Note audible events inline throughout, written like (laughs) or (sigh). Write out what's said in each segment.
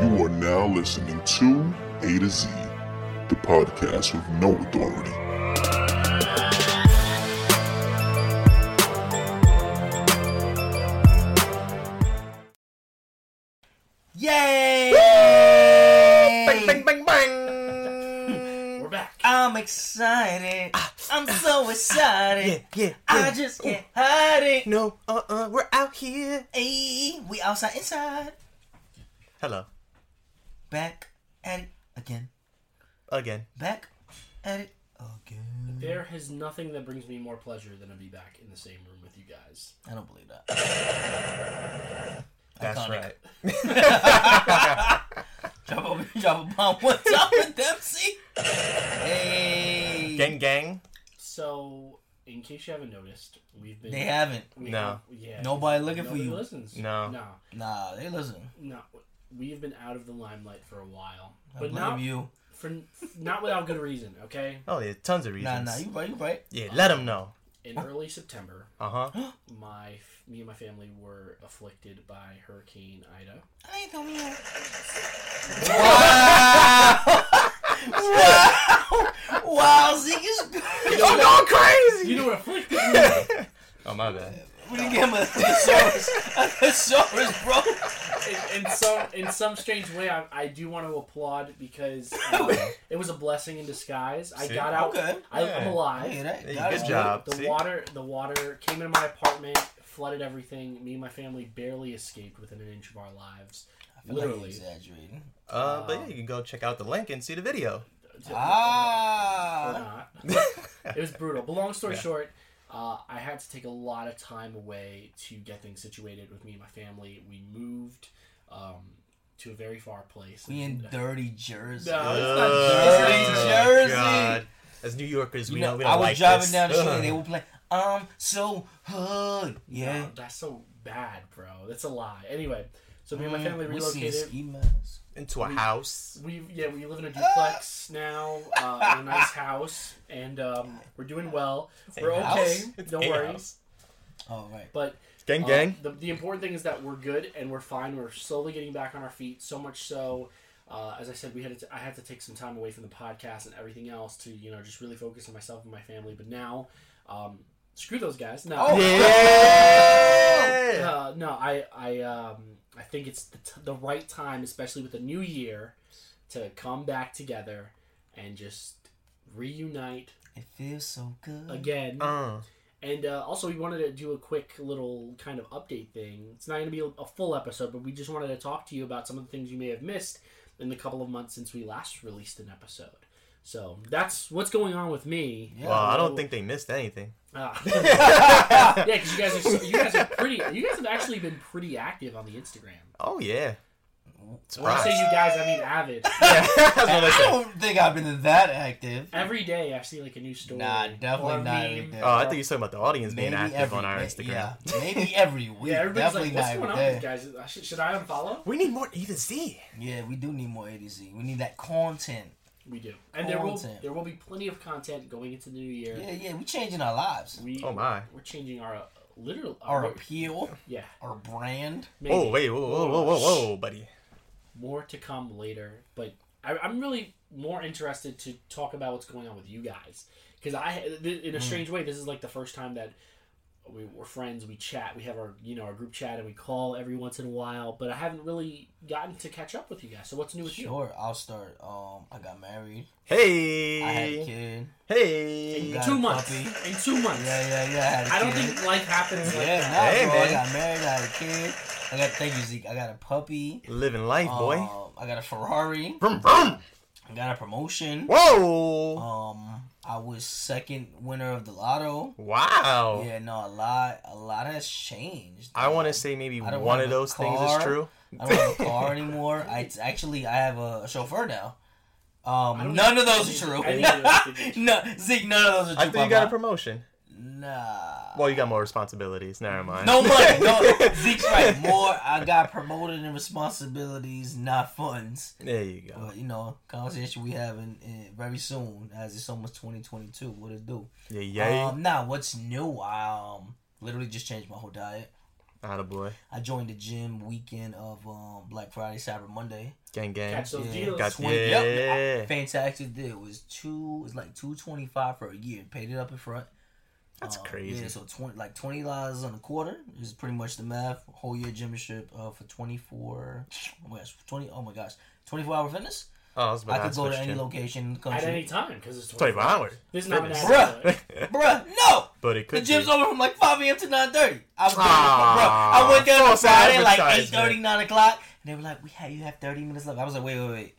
You are now listening to A to Z, the podcast with no authority. Yay! Bang, bang, bang, bang. We're back. Mm. Ah. I'm excited. I'm so excited. Yeah, yeah, I yeah. just can't hide it. No, uh, uh, we're out here. Ayy, we outside, inside. Hello, Back at it again. again. Back at it again. There is nothing that brings me more pleasure than to be back in the same room with you guys. I don't believe that. (laughs) That's Iconic. right. drop a drop a bomb. What's up with Dempsey? Hey. Gang, gang. So, in case you haven't noticed, we've been They haven't. we No. have- yeah, Nobody looking for nobody you. Listens. No. no, Nah, they listen. no. We've been out of the limelight for a while, I but blame not you. for not without good reason. Okay, Oh, yeah, tons of Nah, reasons. nah, you right, you right. Yeah, let them know. in early September, (gasps) Uh huh. my f- me and my family were afflicted by Hurricane (laughs) Ida. I ain't told you. Wow! wow! Wow, Zeke is Oh, I'm going crazy. You know what afflicted? Oh my bad. We didn't give him a (laughs) thesaurus. A thesaurus, bro. in, in some in some strange way, I, I do want to applaud (laughs) because um, it was a blessing in disguise. I See? got out. Okay. I, Yeah. I'm alive. Oh, Hey, that, Hey, that good is- job. The See? water the water came into my apartment, flooded everything. Me and my family barely escaped within an inch of our lives. I feel like you're Literally. exaggerating. Uh, but yeah, you can go check out the link and see the video. Or Ah! not. (laughs) it was brutal. But long story short, uh, I had to take a lot of time away to get things situated with me and my family. We moved um, to a very far place. We in dirty Jersey. No, Uh, it's not Dirty Jersey. Jersey. Oh, God. As New Yorkers, we You know, know, we don't I was like driving this. down the street Ugh. and they were playing, I'm so hood. Yeah. No, that's so bad, bro. That's a lie. Anyway, so me and Mm, my family We seen relocated. ski masks. into (laughs) a house. We yeah, we Ah! live in a duplex now, uh, in (laughs) a nice house, and um, we're doing well. We're a okay. house. It's Don't a worry. house. All right. But Gang, uh, gang. the, the important thing is that we're good and we're fine. We're slowly getting back on our feet. So much so, uh, as I said, we had to, I had to take some time away from the podcast and everything else to you know just really focus on myself and my family. But now, um, screw those guys. No. Oh, yeah. Uh, no, I I um I think it's the, t- the right time, especially with the new year, to come back together and just reunite It feels so good. again. Uh, And uh, also, we wanted to do a quick little kind of update thing. It's not going to be a full episode, but we just wanted to talk to you about some of the things you may have missed in the couple of months since we last released an episode. So that's what's going on with me. Yeah. well, I don't think they missed anything. Ah. (laughs) yeah, because you guys are so, you guys are pretty. You guys have actually been pretty active on the Instagram. Oh yeah. When I Surprise. say you guys, I mean avid. (laughs) (laughs) That's what I I said. don't think I've been that active. Every day I see like a new story. Nah, definitely or a not every meme. day. Oh, I think you're talking about the audience being Maybe active every on our ma- Instagram. Yeah, maybe every week. Yeah, definitely everybody's like, not "What's going on every with day. you guys? I Should, should I unfollow?" We need more E to Z. Yeah, we do need more A to Z. We need that content. We do, and there will Content. there will be plenty of content going into the new year. Yeah, yeah, we changing our lives. We, Oh, my. we're changing our uh, literal Our our, appeal, yeah. our brand. Maybe. Oh wait, whoa, whoa, whoa, whoa, whoa, buddy. More to come later, but I, I'm really more interested to talk about what's going on with you guys because I, th- Mm. in a strange way, this is like the first time that we, we're friends. We chat. We have our you know our group chat and we call every once in a while. But I haven't really gotten to catch up with you guys. So what's new with you? Sure, I'll start. Um, I got married. Hey. I had a kid. Hey. got two a months. puppy. (laughs) In two months. Yeah, yeah, yeah. I had a I don't kid. think life happens like Yeah, that. nah, Hey, bro. I man. got married. I had a kid. I got thank you, Zeke. I got a puppy. Living life, boy. Oh. Um, I got a Ferrari. Vroom, vroom. I got a promotion. Whoa. Um, I was second winner of the lotto. Wow. Yeah, no, a lot, a lot has changed. Oh. I want to say maybe I don't one have of a those things car. is true. I don't (laughs) have a car anymore. I it's actually I have a chauffeur now. Um, don't none know. of those are true. I didn't (laughs) know. no, Zeke, none of those are I true. think you got a promotion. nah. (laughs) Well, you got more responsibilities. Never mind. (laughs) No money. No, Zeke's right. More, I got promoted and responsibilities, not funds. There you go. But you know, conversation we having in, very soon, as it's almost 2022. What it do? Yeah, yay. Um, nah, what's new? Um, literally just changed my whole diet. Attaboy. I joined the gym weekend of um, Black Friday, Cyber Monday. Gang, gang. Catch those Yeah. deals. Got Twenty- yeah. Yep, I- fantastic deal. It was two. It was like two twenty five for a year. Paid it up in front. That's Um, crazy. Yeah, so twenty like twenty dollars on a quarter is pretty much the math. Whole year gym membership uh, for twenty four. Oh my gosh, twenty. Oh my gosh, twenty four hour fitness. oh, I was about I to could ask go to which any gym. location in the At country. any time, because it's 24 hours. This is not an Goodness. ad. Bruh. (laughs) Bruh, no. But it The could gym's be. open from like 5 a.m. to 9.30. I was down Ah, bro. I went down on false Friday like advertisement. 8.30, 9 o'clock. And they were like, we have, you have 30 minutes left. I was like, wait, wait, wait.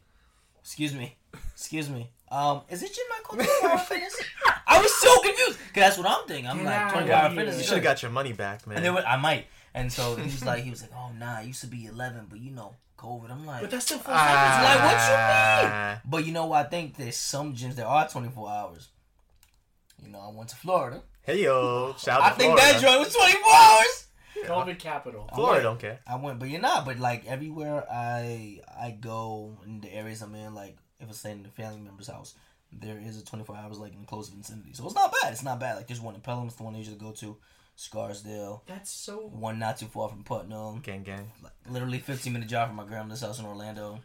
Excuse me. Excuse me. Um, is it gym not called 24 hour fitness? I was so confused. Because that's what I'm thinking. I'm Yeah, like, 24 hour yeah. fitness You is should have good. got your money back, man. and they were, I might. And so he was like, he was like, oh, nah, it used to be 11, but you know, COVID. I'm like, But that's still full Ah. time. like, what you mean? Ah. But you know, I think there's some gyms that are 24 hours. You know, I went to Florida. Hey yo, shout out I to think Florida. that joint was 24 hours. It's like COVID capital. Ah. Florida don't care. I went, but you're not. But like everywhere I I go in the areas I'm in, like if it's staying in a family member's house, there is a 24 hours like in close vicinity. So it's not bad. It's not bad. Like there's one in Pelham, it's the one I usually go to, Scarsdale, That's so. one not too far from Putnam, Gang, gang. like, literally 15 minute drive from my grandma's house in Orlando.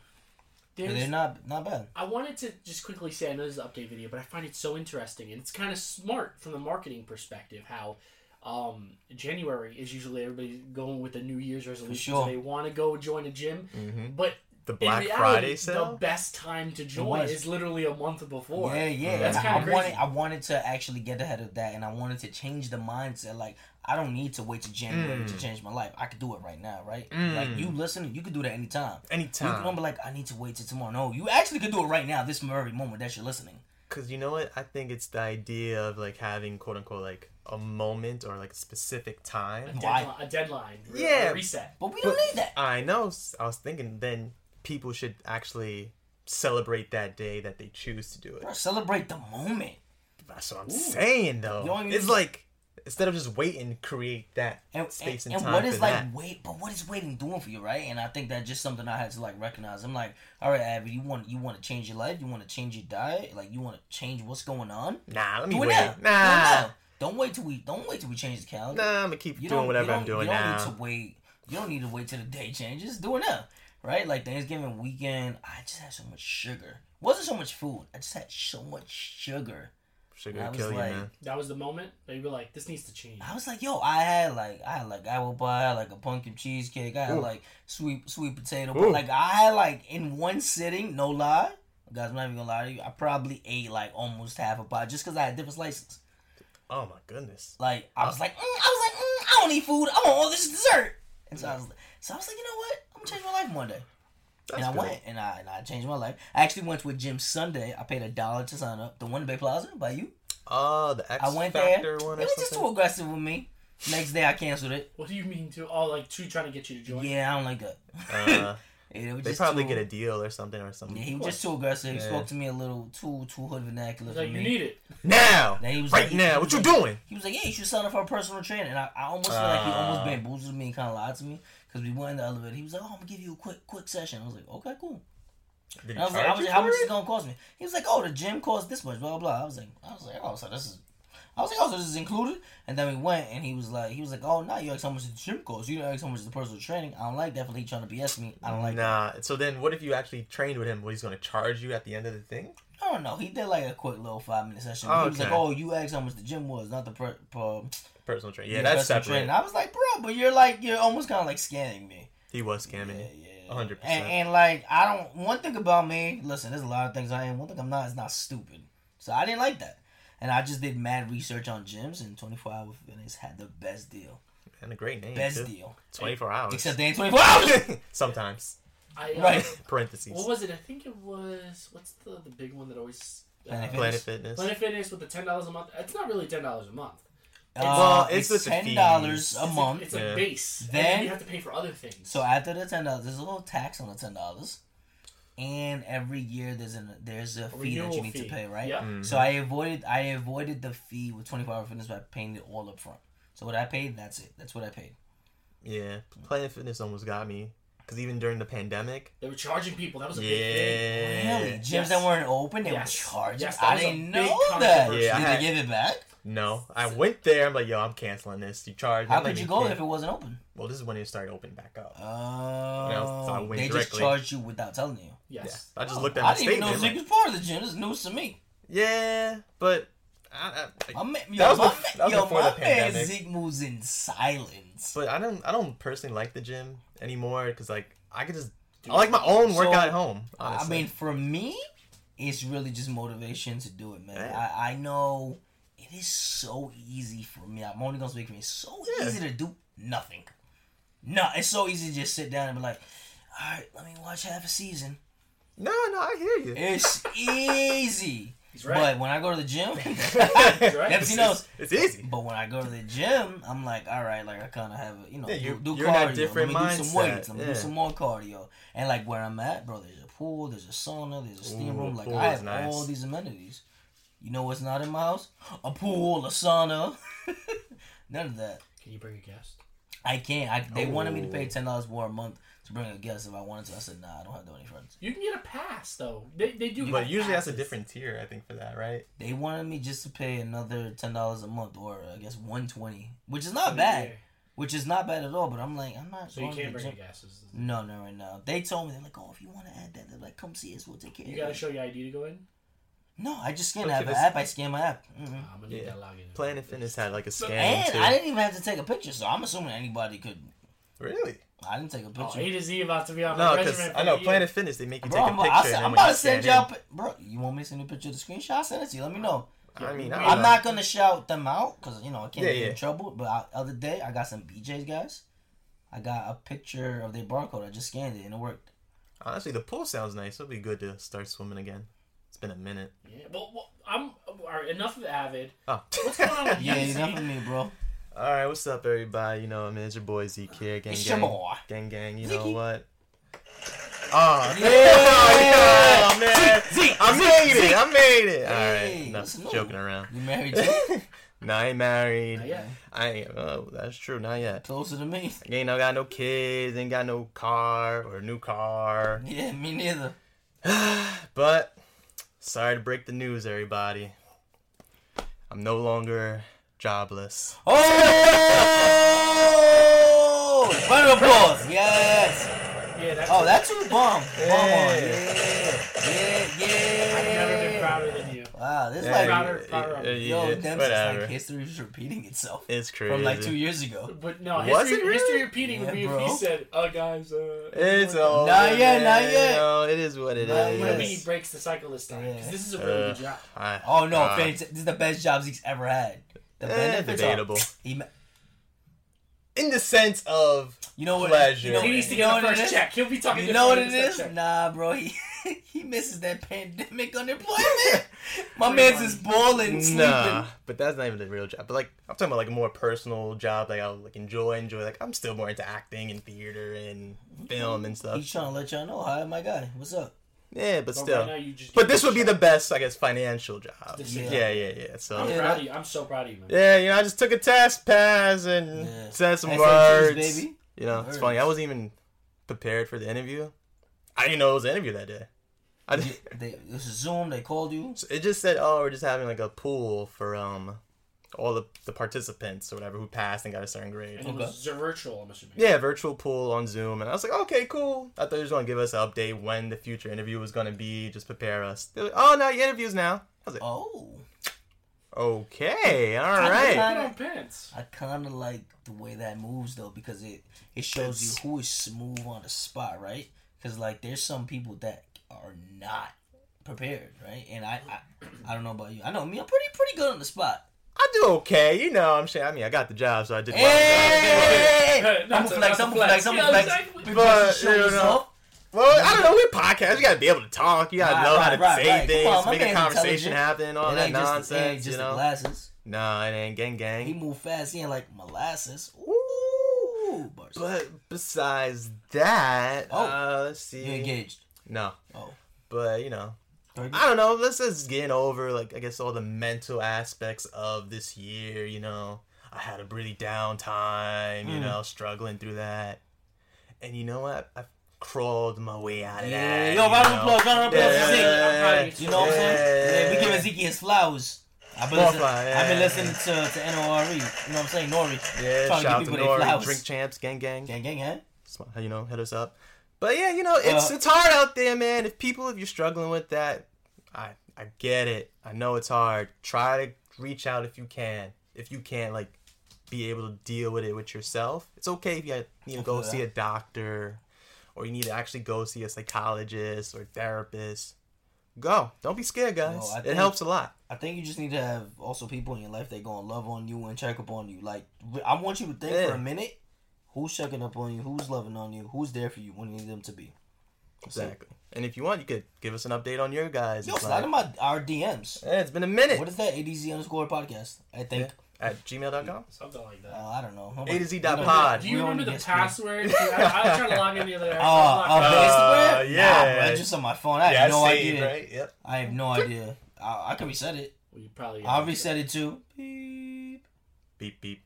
And they're There's, not not bad. I wanted to just quickly say I know this is an update video, but I find it so interesting and it's kind of smart from the marketing perspective how um, January is usually everybody going with the New Year's resolutions. sure. Mm-hmm. They want to go join a gym, but The in Black reality, Friday the sale? best time to join was. is literally a month before. Yeah, Mm. yeah. That's And I- kind I of wanted, crazy. I wanted to actually get ahead of that, and I wanted to change the mindset. Like, I don't need to wait to January Mm. to change my life. I could do it right now, right? Like, you listen, you could do that anytime. You Anytime. don't be like, I need to wait till tomorrow. No, you actually could do it right now, this very moment that you're listening. Cause you know what? I think it's the idea of like having quote unquote like a moment or like a specific time. Why? Deadli- a deadline. re- Yeah. a reset. But we don't need that. I know. s- I was thinking then people should actually celebrate that day that they choose to do it. Bro, celebrate the moment. That's what I'm saying though. You don't even- It's like instead of just waiting, create that And, space and, and- and time what for is that. like wait but what is waiting doing for you right and i think that's just something i had to like recognize i'm like all right abby you want you want to change your life you want to change your diet like you want to change what's going on Nah, let me Do it wait. now. Do it Nah, now. Don't wait till we don't wait till we change the calendar. nah, I'm gonna keep you doing don't, you whatever don't, I'm doing you don't now. need to wait. You don't need to wait till the day changes. Do it now, right? Like Thanksgiving weekend, I just had so much sugar. Wasn't so much food. I just had so much sugar. Sugar I will was kill you, like- man. That was the moment that you were like, this needs to change. I was like, yo, I had like I had like apple pie, I had like a pumpkin cheesecake, I had like sweet sweet potato. But Ooh. like I had like in one sitting, no lie, guys, I'm not even gonna lie to you. I probably ate like almost half a pie just because I had different slices. Oh my goodness. Like I was like, mm, I was like, mm, I don't eat food. I want all this dessert. And so I was, so I was like, you know what? I'm gonna change my life one day. and I good. went and I and I changed my life. I actually went to a gym Sunday. I paid a dollar to sign up. The one in Bay Plaza by you. Oh, the X I went Factor there. one. it was or just too something? aggressive with me. Next day I canceled it. what do you mean to? Oh, like two trying to get you to join. Yeah, I don't like that. (laughs) Uh, It was they just probably too- get a deal or something or something. Yeah, he was just too aggressive. He Yeah. spoke to me a little too too hood vernacular. It's for Like me. you need it. Now, Now he was right like- now, what you doing? He was like, "Yeah, you should sign up for a personal trainer." And I, I almost feel like he Uh. almost bamboozled me and kind of lied to me because we went in the elevator. He was like, "Oh, I'm gonna give you a quick, quick session." I was like, "Okay, cool." Did And he I was like, I charge was you like, "How for much is it? it gonna cost me?" He was like, "Oh, the gym costs this much." Blah blah. I was like, I was like, "Oh, so this is." I was like, "Oh, so this is included." And then we went, and he was like, he was like, "Oh, no, you asked how much the gym costs. You didn't ask how much the personal training." I don't like that. For he trying to BS me. I don't (laughs) like. that. Nah. So then, what if you actually trained with him? What he's gonna charge you at the end of the thing? I don't know. He did like a quick little five minute session. Oh, he was like, okay. "Oh, you asked how much the gym was, not the per, per Personal trainer. Yeah, your that's personal separate. training." I was like, "Bro, but you're like, you're almost kind of like scanning me." He was scamming. you. A hundred And, percent. and like I don't one thing about me, listen, there's a lot of things I am. One thing I'm not is not stupid. So I didn't like that. And I just did mad research on gyms and 24 hour fitness had the best deal. And a great name Best too. deal. Twenty-four hours. Except they ain't 24 (laughs) hours. (laughs) Sometimes. I, uh, right. Parentheses. What was it? I think it was what's the the big one that always Planet uh, Planet Fitness. Planet Fitness with the ten dollars a month. It's not really ten dollars a month. uh, Well, it's with the Uh, ten dollars fees. a It's month. It's a Yeah. base. and Then, Then- you have to pay for other things. So after the ten dollars, there's a little tax on the ten dollars, and every year there's an there's a fee that renewal you need fee. to pay, right? Yeah. So I avoided I avoided the fee with twenty four hour fitness by paying it all up front. So what I paid, that's it. That's what I paid. Yeah, Planet Fitness almost got me because even during the pandemic, They were charging people. That was a big thing. yeah, Really, gyms Yes. that weren't open, they Yes. were charged. Yes, that I was a didn't big know that. controversy. Yeah, I Did had- they give it back? no, I went there. I'm like, yo, I'm canceling this. You charge. How I'm could like, you go can't- if it wasn't open? Well, this is when it started opening back up. Oh, so I went they just directly. charged you without telling you. Yes. Yeah, I just Oh, looked at my I didn't even know statement. Zeke like, was part of the gym. This is news to me. yeah, but I, I, My man, yo, That was my, bef- man- that was yo, before my the man pandemic. Zeke moves in silence. but I don't. I don't personally like the gym anymore because like I could just. I like my own workout So, at home. I Honestly. mean, for me, it's really just motivation to do it, man. Yeah. I, I know it is so easy for me. I'm only gonna speak for me. It's so Yeah. easy to do nothing. No, it's so easy to just sit down and be like, all right, let me watch half a season. no, no, I hear you. It's easy. He's right. But when I go to the gym, (laughs) right. Dempsey knows. It's easy. But when I go to the gym, I'm like, all right, like I kind of have, a, you know, Yeah, you- do, do you're in a cardio. different Let me do some mindset, weights. Let me yeah. do some more cardio. And like where I'm at, bro, there's a pool, there's a sauna, there's a steam Ooh, room. Like pool I is have nice. all these amenities. You know what's not in my house? A pool, a sauna, (laughs) none of that. Can you bring a guest? I can't. I, they wanted me to pay Ooh. ten dollars more a month to bring a guest if I wanted to. I said, nah, I don't have that many friends. You can get a pass though. They, they do. But have usually that's a passes. different tier, I think, for that, right? They wanted me just to pay another ten dollars a month, or I guess one twenty, which is not Yeah. bad. Which is not bad at all. But I'm like, I'm not. So you going to can't the bring a gym. guest. Is- No, no, right now. They told me they're like, oh, if you want to add that, they're like, come see us. We'll take care. You of gotta it." show your ID to go in. Mm-hmm. No, I just scan. Okay, I have an this- app. I scan my app. hmm Uh, I'm gonna need Yeah. that login. Planet Fitness had like a scan And too. I didn't even have to take a picture, so I'm assuming anybody could. Really? I didn't take a Oh, picture. A to Z about to be on No, my because resume. I know Planet Fitness they make you Bro, take I'm, a about- picture. I'll se- and I'm then when about to scan send y'all. in- pi- Bro, you want me to send you a picture of the screenshot? I'll Send it to you. Let me know. I mean, I I'm don't I'm know. not gonna shout them out because you know I can't Yeah, get yeah. in trouble. But I, other day I got some BJ's guys. I got a picture of their barcode. I just scanned it and it worked. Honestly, the pool sounds nice. It'll be good to start swimming again. It's been a minute. Yeah. Well, well, I'm. All right, enough of Avid. Oh. What's going on with (laughs) Yeah, you? you Z? know me, bro. All right, what's up, everybody? You know, I mean, it's your boy Zeke here. Gang, It's your gang. boy. Gang, gang. You know Zeke. what? Oh, yeah! Yeah! oh, man. Zeke, I made it. I made it. All Hey, right. what's Enough new? joking around. You married (laughs) Jake? No, I ain't Not married. yet. I ain't. Oh, that's true. Not yet. Closer to (laughs) me. Ain't no got no kids. Ain't got no car or new car. Yeah, me neither. But sorry to break the news, everybody. I'm no longer jobless. (laughs) Oh! Round of applause. Yes. Yeah. That's Oh, that's your bomb. Bomb on. Yeah. Yeah. Yeah. Yeah. I've never been prouder than you. Wow, this is Yeah, like Prouder, prouder of yeah, you. yo, yeah, Dempsey's whatever. like history is repeating itself It's crazy. from like two years ago. But no, Was history, it really? history repeating would Yeah, be if bro. he said, "Oh, guys, uh, It's everyone- all. Not yet, not yet. No, it is what it is. Not Maybe yet. he breaks the cycle this time because Yeah. this is a really Uh, good job. I- Oh no, uh, fans, this is the best job Zeke's ever had. The Eh, benefits are- debatable. he ma- in the sense of you know what? Pleasure. You know, He needs to you know get the what it is? first check. He'll be talking. You to know what the it is? first check. Nah, bro. He (laughs) he misses that pandemic (laughs) unemployment. My man's is balling, sleeping. nah, but that's not even the real job. But like, I'm talking about like a more personal job. Like I'll like enjoy, enjoy. Like I'm still more into acting and theater and film and He's stuff. trying to let y'all know, hi, my guy. What's up? Yeah, but But still. right now you just but get this the would be shot. the best, I guess, financial job. This Yeah, is- yeah, yeah. So. I'm Yeah. proud of you. I'm so proud of you, man. Yeah, you know, I just took a test, pass, and Yeah. said some SATs, words. baby. You know, it's Words. funny. I wasn't even prepared for the interview. I didn't know it was an interview that day. I didn't- (laughs) They, this is Zoom. They called you. it just said, "Oh, we're just having like a pool for um all the the participants or whatever who passed and got a certain And grade." it was virtual, I'm assuming. Yeah, virtual pool on Zoom, and I was like, "Okay, cool." I thought they were just gonna give us an update when the future interview was gonna be, just prepare us. They're like, "Oh, no, your interview's now." I was like, Oh, "Okay, all I right." forgot. Put on pants. I kind of like the way that moves though because it it shows you who is smooth on the spot, right? Because like there's some people that are not prepared, right? And I, I I don't know about you. I know me. I'm pretty pretty good on the spot. I do okay, you know. I'm saying. I mean, I got the job, so I did. well. Hey, Not I'm gonna to- flex. (laughs) not I'm to gonna flex. I'm Yeah, gonna flex. exactly. (laughs) Because But, you show you know, yourself, Well, I don't know. We're podcast. You gotta be able to talk. You gotta Right, know how right, to right, say right. Come things, on, my make a man's conversation intelligent. happen, all It that ain't just- it ain't nonsense. just you the know? glasses. Nah, it ain't gang He gang. moved fast. He ain't like molasses. Ooh, bars. But besides that, Oh. uh, let's see. you engaged. No, Oh, but you know, Very good. I don't know. Let's just get over like I guess all the mental aspects of this year. You know, I had a really down time. Hmm. You know, struggling through that, and you know what? I crawled my way out of Yeah, that. yo, you round of know? applause, round of applause for Zeke. I'm proud of you, You know what I'm saying? Yeah, we giving Zeke his flowers. I've been, Small listening, fly, yeah. I've been listening to, to NORE. E. You know what I'm saying? Nori. Yeah, trying shout out to to give people their Nori, flowers. Drink Champs, Gang Gang. gang, gang, eh? Sm- You know, hit us up. But yeah, you know, it's Uh, it's hard out there, man. If people, if you're struggling with that, I I get it. I know it's hard. Try to reach out if you can. If you can't, like, be able to deal with it with yourself. It's okay if you need to go feel see that. a doctor, or you need to actually go see a psychologist or therapist. Go. Don't be scared, guys. I it think- helps a lot. I think you just need to have also people in your life that gonna love on you and check up on you. Like re- I want you to think for Yeah. a minute, who's checking up on you, who's loving on you, who's there for you when you need them to be. That's it. Exactly. And if you want, you could give us an update on your guys. Yo, It's slide like- in my our DMs. Yeah, it's been a minute. What is that? ADZ underscore podcast. I think. At gmail.com? Something like that. Oh, Uh, I don't know. A to Z dot We don't- pod. Do you we E don't remember need the this, man. password? I, I tried to log in the other day. (laughs) Oh, of Uh, Instagram? yeah. Nah, bro, it's just on my phone. I have no idea. right? Yep. I have no idea. I, I could reset it. Well, you probably I'll reset it too. Beep. Beep beep.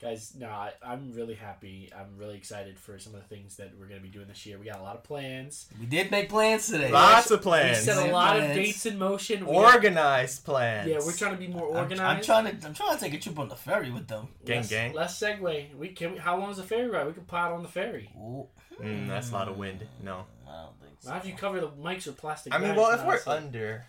guys. No, I, I'm really happy. I'm really excited for some of the things that we're gonna be doing this year. We got a lot of plans. We did make plans today. Lots of We plans. set a lot of Plans. dates in motion. We got- Organized plans. Yeah, we're trying to be more I'm, organized. I'm trying to. I'm trying to take a trip on the ferry with them. Gang, less, gang. Less segue. We can. We, how long is the ferry ride? We can pod on the ferry. Ooh, Mm, that's a lot of wind. No. I don't think so. Not if you cover the mics with plastic. I mean, bags, well, if no, we're it's like- under,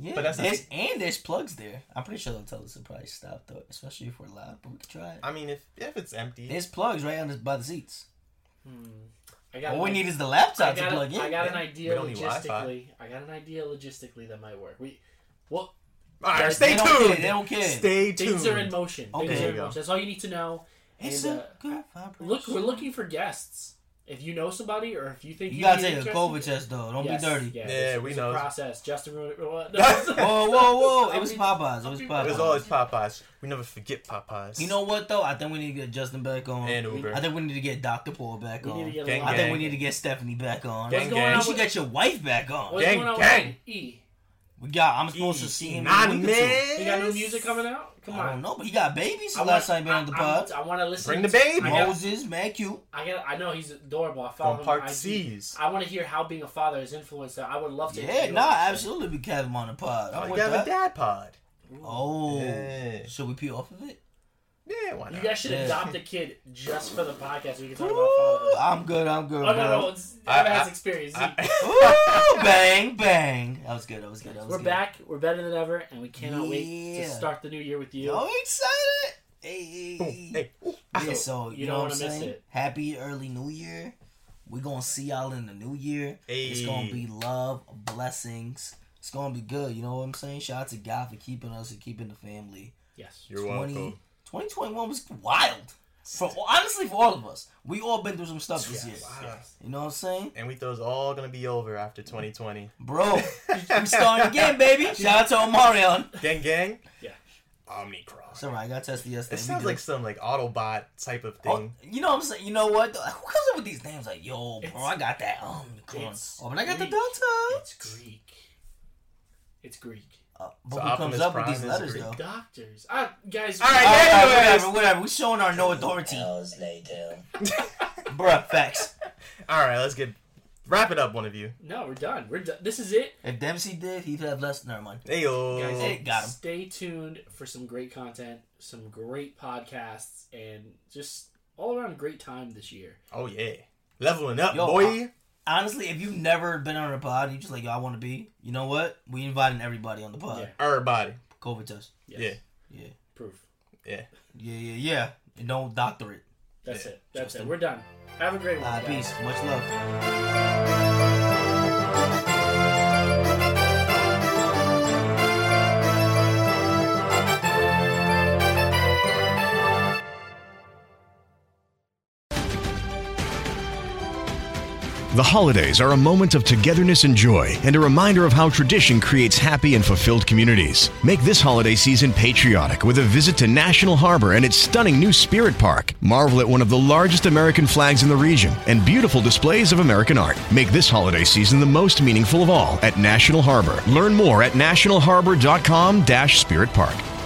Yeah, But that's a- there's, and there's plugs there. I'm pretty sure they'll tell us to probably stop though, especially if we're loud. But we could try it. I mean, if if it's empty, There's plugs right on this by the seats. I got All we an need is the I laptop to got, plug in. I got yeah. an idea We don't need logistically. I got an idea logistically that might work. We, well, all right, They stay don't tuned. care, they don't care. Stay tuned. things are in motion. Okay. Things There you are in go. motion. That's all you need to know. It's And, a uh, good vibration. look, we're looking for guests. If you know somebody, or if you think You you'd gotta be take a interested- COVID test though. Don't Yes, be dirty. Oh, Yeah, Yeah, it's- we it's a know. process. Justin ruined it. Well, (laughs) (laughs) no. Whoa, whoa, whoa! I'll It was be- Popeyes. It was It Popeyes. It was always Popeyes. We never forget Popeyes. You know what though? I think we need to get Justin back on. and Uber. I think we need to get Dr. Paul back We on. need to get a Gang, lot- I think we gang. need to get Stephanie back on. Gang, What's going gang. on You should with- get your wife back on. what's Gang, going on gang. with E? We got. I'm supposed to see him. in a Not week or two. He got new music coming out. Come I on. don't know, but he got babies. The I last time wanna- he been on the I- I'm- pod. I want to listen. Bring the to- baby. I got, Moses, man, cute. I got. I know he's adorable. I follow From him Park on IG. C's. I want to hear how being a father has influenced that. I would love to. Yeah, interview nah, him. absolutely. We can have him on Oh, the pod. I'm We with have a that. dad pod. Oh, Yeah. should we pee off of it? Yeah, why (laughs) You not? guys should Yeah. adopt a kid just for the podcast. We can talk about Ooh, fatherhood. I'm good. I'm good, Oh no, no, bro. it's, I- everyone has I- experience. Ooh, bang, bang. That was good. That was good. That was We're good. back. We're better than ever, and we cannot wait to Yeah. start the new year with you. Yo, excited. Hey. Hey, Yeah, so you, you know don't what I'm wanna miss saying? it. Happy early new year. We're gonna see y'all in the new year. It's Hey. gonna be love, blessings. It's gonna be good, you know what I'm saying? Shout out to God for keeping us and keeping the family. Yes. you're 20, welcome. 2021 was wild. For honestly for all of us. We all been through some stuff this year. Yes. You know what I'm saying? And we thought it was all gonna be over after 2020. Bro, (laughs) we starting again, baby. Shout out to Omarion. (laughs) Gang, gang. Yeah. Omnicross. It's alright, I got tested yesterday. It We sounds good. like some like Autobot type of Oh, thing. you know what I'm saying? You know what? Who comes up with these names like, yo, bro, It's- I got that Omicron. it's Oh, but I got the Greek. Delta. It's Greek. It's Greek. Uh, but So who comes Optimus up Prime with these is letters, Greek. (laughs) though? Doctors. Ah, guys. All right, All right, Anyways. whatever, whatever. We're showing our no authority. hours later. (laughs) Bruh, facts. All right, let's get wrap it up, one of you. No, we're done. We're done. This is it. If Dempsey did, he'd have less. Never mind. Hey Guys, Hey, got him. Stay tuned for some great content, some great podcasts, and just all around great time this year. Oh yeah, leveling up, Yo, boy. Honestly, if you've never been on a pod, you're just like, yo, I want to be. You know what? We inviting everybody on the pod. Yeah. Everybody. COVID test. Yes. Yeah. Yeah. Proof. Yeah. Yeah, yeah, yeah. And don't doctor it. That's it. That's it. We're done. Have a great one. Ah, guys. peace. Much love. The holidays are a moment of togetherness and joy and a reminder of how tradition creates happy and fulfilled communities. Make this holiday season patriotic with a visit to National Harbor and its stunning new Spirit Park. Marvel at one of the largest American flags in the region and beautiful displays of American art. Make this holiday season the most meaningful of all at National Harbor. Learn more at nationalharbor.com-spiritpark.